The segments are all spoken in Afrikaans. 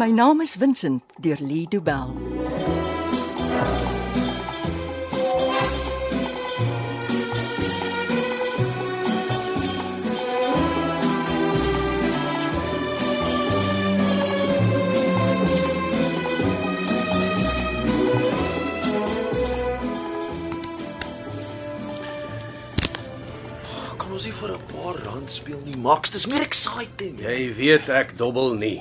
My naam is Vincent deur Lee Du Bell. Kan ons nie vir 'n paar rand speel nie, Max? Dis meer exciting. Jy weet ek dobbel nie.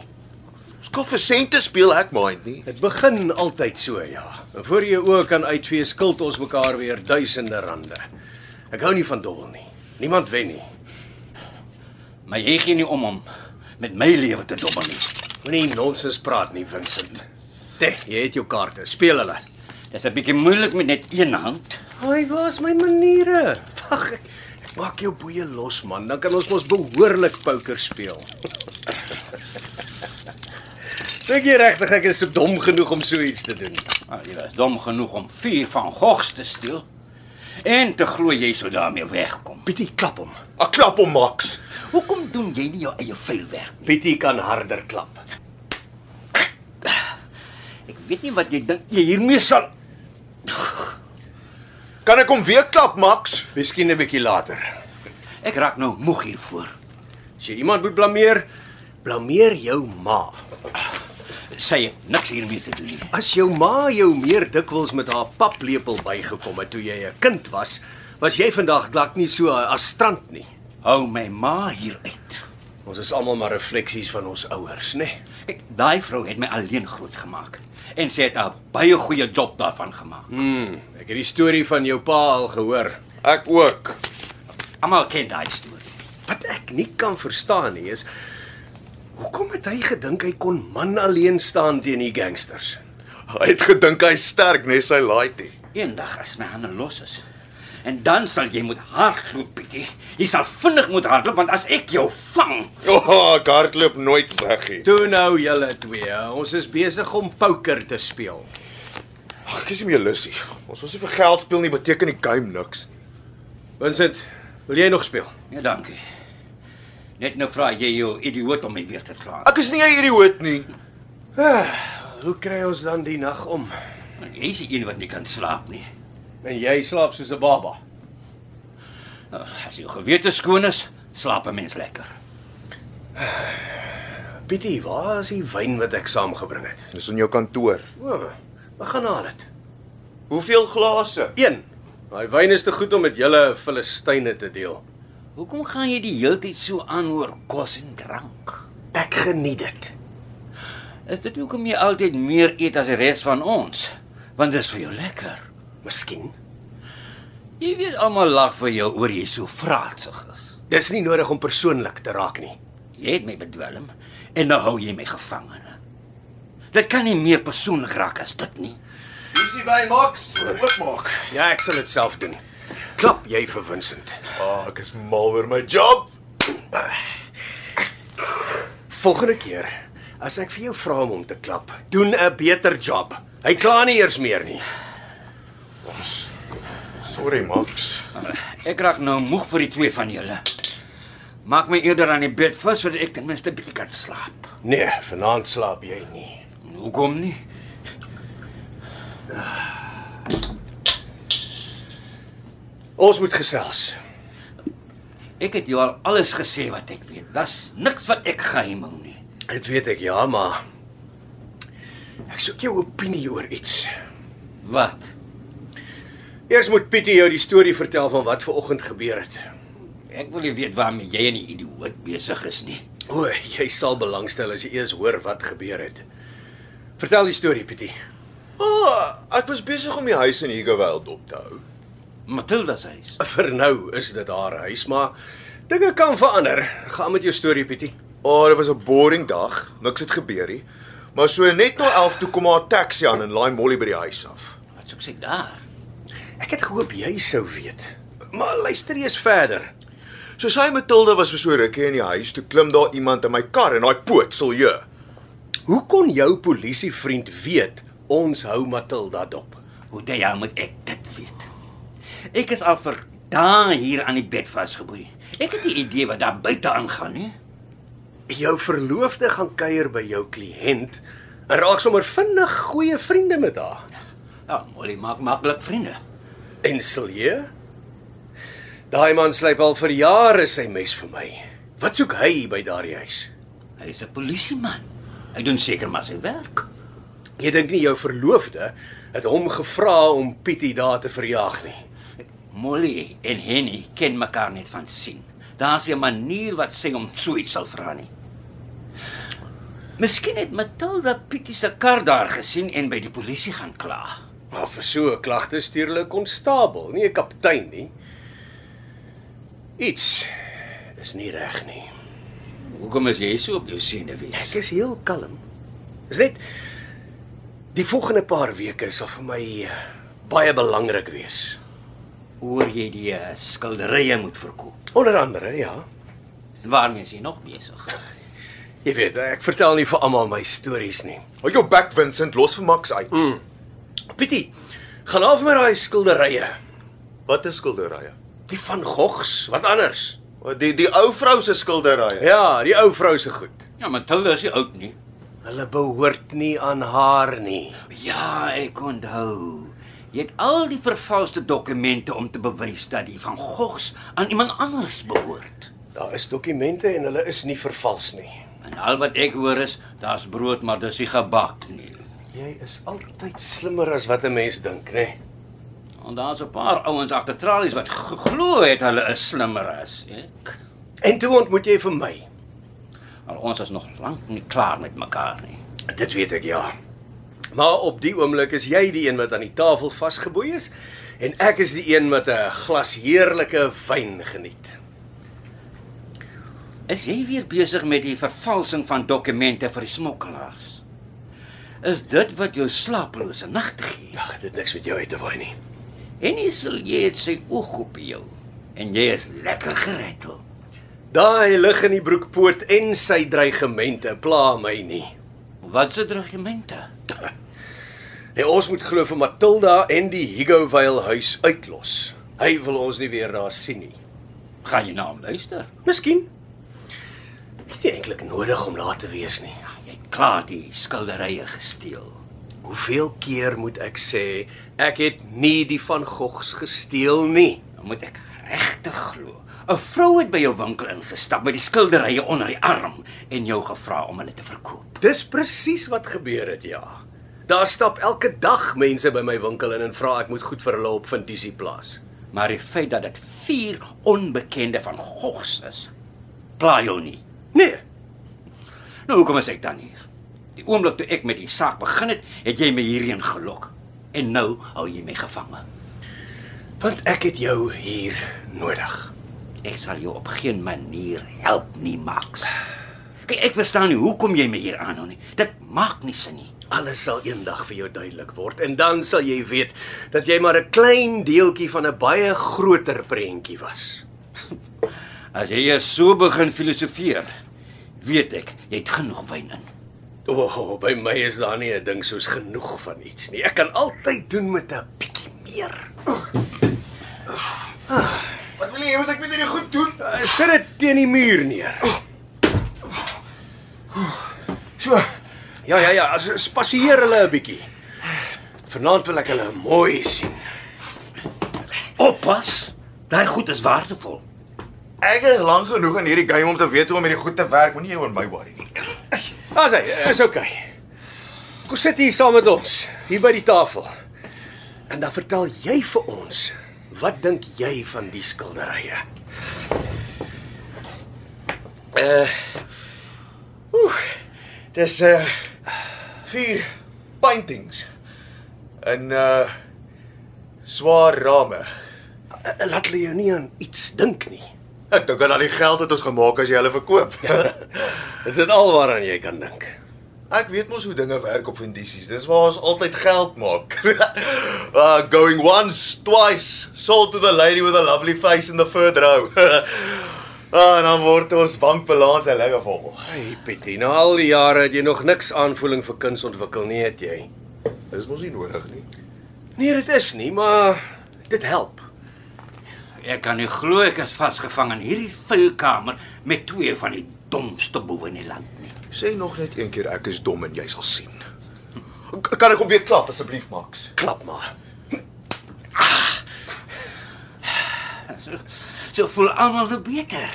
Ons kan vir sente speel, ek mind nie. Dit begin altyd so, ja. En voor jy oë kan uitvee, skuld ons mekaar weer duisende rande. Ek hou nie van dobbel nie. Niemand wen nie. Maar jy gee nie om om met my lewe te dobbel nie. Moenie nonsens praat nie, Vincent. Teg, jy het jou kaarte. Speel hulle. Dis 'n bietjie moeilik met net een hand. Ai, waar's my maniere? Wag, ek, ek maak jou boeie los man, dan kan ons mos behoorlik poker speel. Dink jy regtig ek is so dom genoeg om so iets te doen? Maar jy was dom genoeg om vier van Gogs te steel en te glo jy sou daarmee wegkom. Pietie klap hom. Ek klap hom, Max. Hoekom doen jy nie jou eie vuilwerk nie? Pietie kan harder klap. Ek weet nie wat jy dink jy hiermee sal. Kan ek hom weer klap, Max? Miskien 'n bietjie later. Ek raak nou moeg hiervoor. As jy iemand moet blameer, blameer jou ma. Sy het niks hiermee te doen nie. As jou ma jou meer dikwels met haar paplepel bygekom het toe jy 'n kind was, was jy vandag dalk nie so astrant nie. Hou my ma hier uit. Ons is almal maar refleksies van ons ouers, né? Nee? Kyk, daai vrou het my alleen grootgemaak en sy het 'n baie goeie job daarvan gemaak. Hmm, ek het die storie van jou pa al gehoor. Ek ook. Almal ken daai storie. Wat ek nie kan verstaan nie is hoekom het hy gedink hy kon man alleen staan teen die gangsters? Hy het gedink hy's sterk, net sy laaitie. Eendag as my hande los is. En dan sal jy moet hardloop, Pietie. Jy sal vinnig moet hardloop want as ek jou vang, O, oh, ek hardloop nooit weg nie. Toe nou julle twee, ons is besig om poker te speel. Ag, ek is nie meer lus nie. Ons ons nie vir geld speel nie, beteken die game niks nie. Vincent, wil jy nog speel? nee, dankie. Net nou vra jy jou idioot om my weer te kla. Ek is nie 'n idioot nie. Hoe kry ons dan die nag om? Jy's die een wat nie kan slaap nie. En jy slaap soos 'n baba. Nou, As jou gewete skoon is, slaap 'n mens lekker. Pietie, waar is die wyn wat ek saamgebring het? Dis in jou kantoor. O, oh, ek gaan haal dit. Hoeveel glase? 1. Daai wyn is te goed om met julle Filistyne te deel. Hoekom gaan jy die heeltyd so aan oor kos en drank? Ek geniet dit. Is dit hoekom jy altyd meer eet as die res van ons? Want dit is vir jou lekker. Miskien. Jy weet almal lag vir jou oor jy so vraatsig is. Dis nie nodig om persoonlik te raak nie. Jy het my bedwelm en nou hou jy my gevangene. Dit kan nie meer persoonlik raak as dit nie. Dis die wyn, Max. Oopmaak. Ja, ek sal dit self doen. Klap jy vir Vincent. Ah, ek is mal oor my job. Volgende keer as ek vir jou vra om hom te klap, doen 'n beter job. Hy kla nie eers meer nie. Sorry, Max. Ek raak nou moeg vir die twee van julle. Maak my eerder aan die bed vas sodat ek ten minste 'n bietjie kan slaap. Nee, vanaand slaap jy nie. Hoekom nie? Ons moet gesels. Ek het jou al alles gesê wat ek weet. Daar's niks wat ek geheim hou nie. Dit weet ek ja, maar ek soek jou opinie oor iets. Wat? Eers moet Pietie jou die storie vertel van wat ver oggend gebeur het. Ek wil nie weet waarmee jy en die idioot besig is nie. O, jy sal belangstel as jy eers hoor wat gebeur het. Vertel die storie, Pietie. O, oh, ek was besig om die huis in Higeweld op te hou. Matilda se huis. Vir nou is dit haar huis, maar dinge kan verander. Gaan met jou storie, Pietie. O, oh, dit was 'n boring dag. Niks het gebeur nie. Maar so net na 11 toe kom haar taxi aan en laai Molly by die huis af. Wat soek sy daar? Ek het gehoop jy sou weet. Maar luister eers verder. So sy Matilda was vir so rukkie in die huis toe klim daar iemand in my kar en daai poot sal jy. Hoe kon jou polisievriend weet ons hou Matilda dop? Hoe dit ja moet ek dit weet. Ek is al vir dae hier aan die bed vasgeboei. Ek het nie idee wat daar buite aangaan nie. jou verloofde gaan kuier by jou kliënt en raak sommer vinnig goeie vriende met haar. Ja, Molly maak maklik vriende. En Silje? Daai man slyp al vir jare sy mes vir my. Wat soek hy by daardie huis? Hy's 'n polisieman. Hy doen seker maar sy werk. Jy dink nie jou verloofde het hom gevra om Pietie daar te verjaag nie. Molly en Henny ken mekaar net van sien. Daar's 'n manier wat sy hom so iets sal vra nie. Miskien het Matilda Pietie se kar daar gesien en by die polisie gaan kla. Maar vir so 'n klagte stuur hulle 'n konstabel, nie 'n kaptein nie. Iets is nie reg nie. Hoekom is jy so op jou senuwees? Ek is heel kalm. Is net die volgende paar weke sal vir my eh, baie belangrik wees. Oor jy die eh, skilderye moet verkoop. Onder andere, ja. En Waarmee is jy nog besig? Jy weet, ek vertel nie vir almal my stories nie. Hou jou bek Vincent, los vir Max uit. Mm. Pietie, gaan af met daai skilderye. Wat is skilderye? Die van Gogs, wat anders? Die die ou vrou se skilderye. Ja, die ou vrou se goed. Ja, Matilda is nie oud nie. Hulle behoort nie aan haar nie. Ja, ek onthou. Jy het al die vervalste dokumente om te bewys dat die van Gogs aan iemand anders behoort. Daar is dokumente en hulle is nie vervals nie. En al wat ek hoor is, daar's brood, maar dis nie gebak nie. Jy is altyd slimmer as wat 'n mens dink, né? Nee? En daar's 'n paar ouens agter tralies wat geglo het hulle is slimmer as ek. En toe ontmoet jy vir my. Maar ons is nog lank nie klaar met mekaar nie. Dit weet ek ja. Maar op die oomblik is jy die een wat aan die tafel vasgeboei is en ek is die een wat 'n glas heerlike wyn geniet. Is jy weer besig met die vervalsing van dokumente vir die smokkelaars? Is dit wat jou slaaplose nagte gee? Ag, dit het niks met jou uit te waai nie. En jy sal jy het sy oog op jou en jy is lekker geretel. Daai lig in die broekpoort en sy dreigemente pla my nie. Wat se dokumente? Nee, ons moet glo vir Matilda en die Higovale huis uitlos. Hy wil ons nie weer daar sien nie. Gaan jy na hom luister? Miskien. Ek het nie eintlik nodig om daar te wees nie. Ja, Jy het klaar die skilderye gesteel. Hoeveel keer moet ek sê ek het nie die van Gogs gesteel nie? Dan moet ek regtig glo. 'n Vrou het by jou winkel ingestap met die skilderye onder die arm en jou gevra om hulle te verkoop. Dis presies wat gebeur het, ja. Daar stap elke dag mense by my winkel in en vra ek moet goed vir hulle op vind disie plaas. Maar die feit dat dit vier onbekende van Gogs is, pla jou nie. Nee, Nou hoekom is ek dan hier? Die oomblik toe ek met die saak begin het, het jy my hierheen gelok. En nou hou jy my gevange. want ek het jou hier nodig. Ek sal jou op geen manier help nie, Max. Kyk, ek verstaan nie hoekom jy my hier aanhou nie. Dit maak nie sin nie. Alles sal eendag vir jou duidelik word en dan sal jy weet dat jy maar 'n klein deeltjie van 'n baie groter prentjie was. As jy eers so begin filosofeer, weet ek jy het genoeg wyn in. O, oh, by my is daar nie 'n ding soos genoeg van iets nie. Ek kan altyd doen met 'n bietjie meer. Wat wil jy hê moet ek met hierdie goed doen? Uh, Sit dit teen die muur neer. Oh. So, Ja, ja, ja, as- spasieer hulle 'n bietjie. Vanaand wil ek hulle mooi sien. Oppas, daai goed is waardevol. ek is lank genoeg in hierdie game om te weet hoe om hierdie goed te werk. Moenie jou aan my worry nie. Daar's hy, Ah, is okay. Kom sit hier saam met ons, hier by die tafel. En dan vertel jy vir ons, wat dink jy van die skilderye? Dis 'n uh, vier paintings in uh swaar rame. Uh, Laat hulle jou nie aan iets dink nie. Ek dink aan al die geld wat ons gemaak as jy hulle verkoop. Is dit alwaaraan jy kan dink? Ek weet mos hoe dinge werk op vendisies. Dis waar ons altyd geld maak. uh going once, twice, sold to the lady with a lovely face in the third row. ah, en dan word ons bankbalans en lekker vol. Hey Pietie, na al die jare het jy nog niks aanvoeling vir kuns ontwikkel nie, het jy? Dis mos nie nodig nie. Nee, dit is nie, maar dit help. Ek kan nie glo ek is vasgevang in hierdie vuilkamer met twee van die domste boe in die land nie. Sê nog net een keer ek is dom en jy sal sien. K kan ek hom weer klap asseblief, Max? Klap maar. So voel almal nou beter.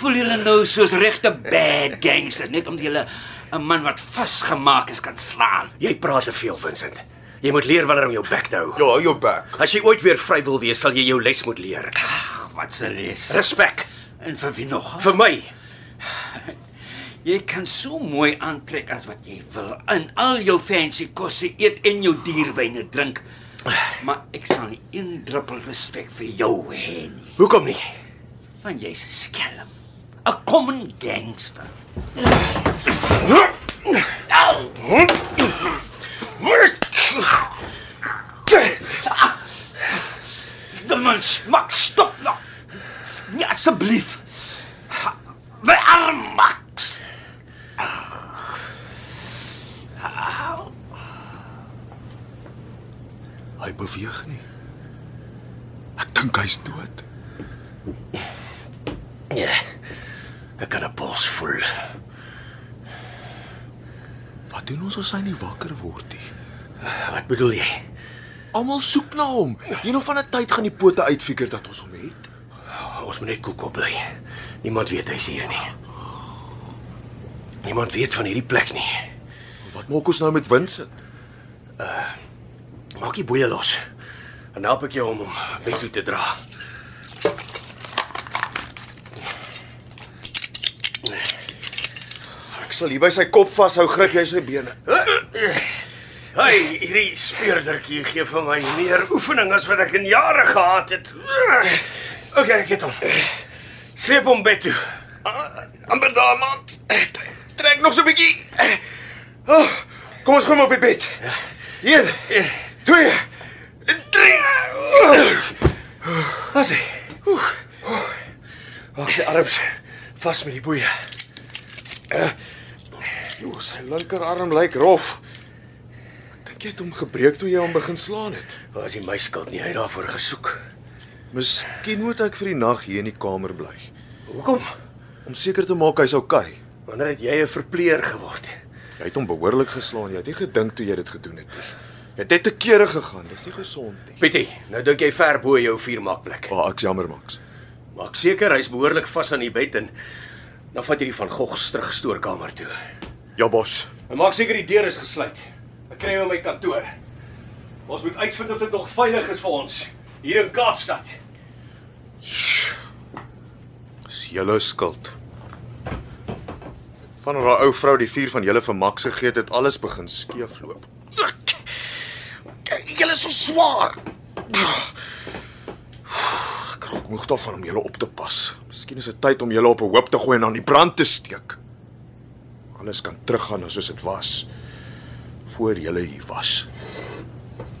Voel julle nou soos regte bad gangster net omdat julle 'n man wat vasgemaak is kan slaan. Jy praat te veel, Vincent. Jy moet leer wanneer om jou bek te hou. Ja, hou jou bek. As jy ooit weer vry wil wees, sal jy jou les moet leer. Ag, wat se les. Respek En vir wie nog? vir my. Jy kan so mooi aantrek as wat jy wil. In al jou fancy kosse eet en jou dierwyne drink. Maar ek sal nie een druppel respek vir jou hê nie. Hoekom nie? Want jy's 'n skelm. 'n Common gangster. Die man smak stop nou. Nee, asseblief. My arm Max. Hy beweeg nie. Ek dink hy's dood. Ja. Ek kan 'n pols voel. Wat doen ons as hy nie wakker word nie? Wat bedoel jy? Almal soek na hom. Een of ander tyd gaan die pote uitfigure dat ons hom het. Ons moet net koelkop bly. Niemand weet hy's hier nie. Niemand weet van hierdie plek nie. Wat maak ons nou met Vincent? Maak die boeie los. En help ek jou om hom weg toe te dra. Ek sal hier by sy kop vashou, gryp jy sy bene. Hey, hierdie speurdertjie gee vir my meer oefening as wat ek in jare gehad het. OK, ek het hom. Sleep hom bed toe. Amper daar, maat. Trek nog so 'n bietjie. Oh, kom ons kom op die bed. Ja. Een, twee, drie. As hy. Oef. Maak sy arms vas met die boeie. Jo, Eh, sy linkerarm lyk rof. Ek dink jy het hom gebreek toe jy hom begin slaan het. Was nie my skuld nie. Hy het daarvoor gesoek. Miskien moet ek vir die nag hier in die kamer bly Hoekom? om seker te maak hy's okay. Wanneer het jy 'n verpleër geword? Jy het hom behoorlik geslaan. Jy het nie gedink toe jy dit gedoen het nie. Jy het net te kere gegaan. Dis nie gesond nie. Pietie, nou dink jy ver bo jou vuurmaakplek. Ah, oh, ek's jammer, Max. Maak seker hy's behoorlik vas aan die bed en dan vat jy die van Gogh se terug stoorkamer toe. Ja, bos. En maak seker die deur is gesluit. Ek kry hom by my kantoor. Ons moet uitvind of dit nog veilig is vir ons hier in Kaapstad. Dis julle skuld. Van daai ou vrou die vuur van julle vir Max gegee het, het alles begin skeefloop. Julle is so swaar. Ek raak moeg daarvan om julle op te pas. Miskien is dit tyd om julle op 'n hoop te gooi en aan die brand te steek. Alles kan teruggaan na soos dit was voor julle hier was.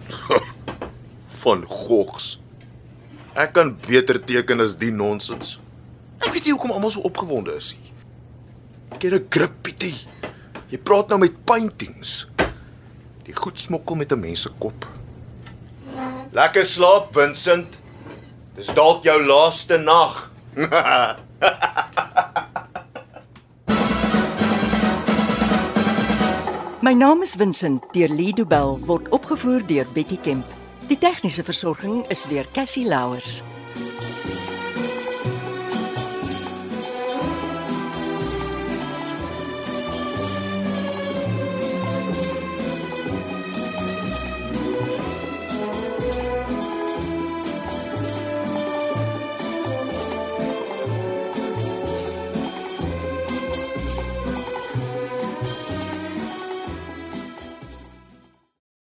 van gogs. Ek kan beter teken as die nonsens. Ek weet nie hoekom almal so opgewonde is nie. Ek het 'n grip, Pietie. Jy praat nou met paintings. Die goed smokkel met 'n mens se kop. Lekker slaap, Vincent. Dis dalk jou laaste nag. My naam is Vincent deur Lee Du Bell word opgevoer deur Betty Kemp. Die tegniese versorging is deur Cassie Louers.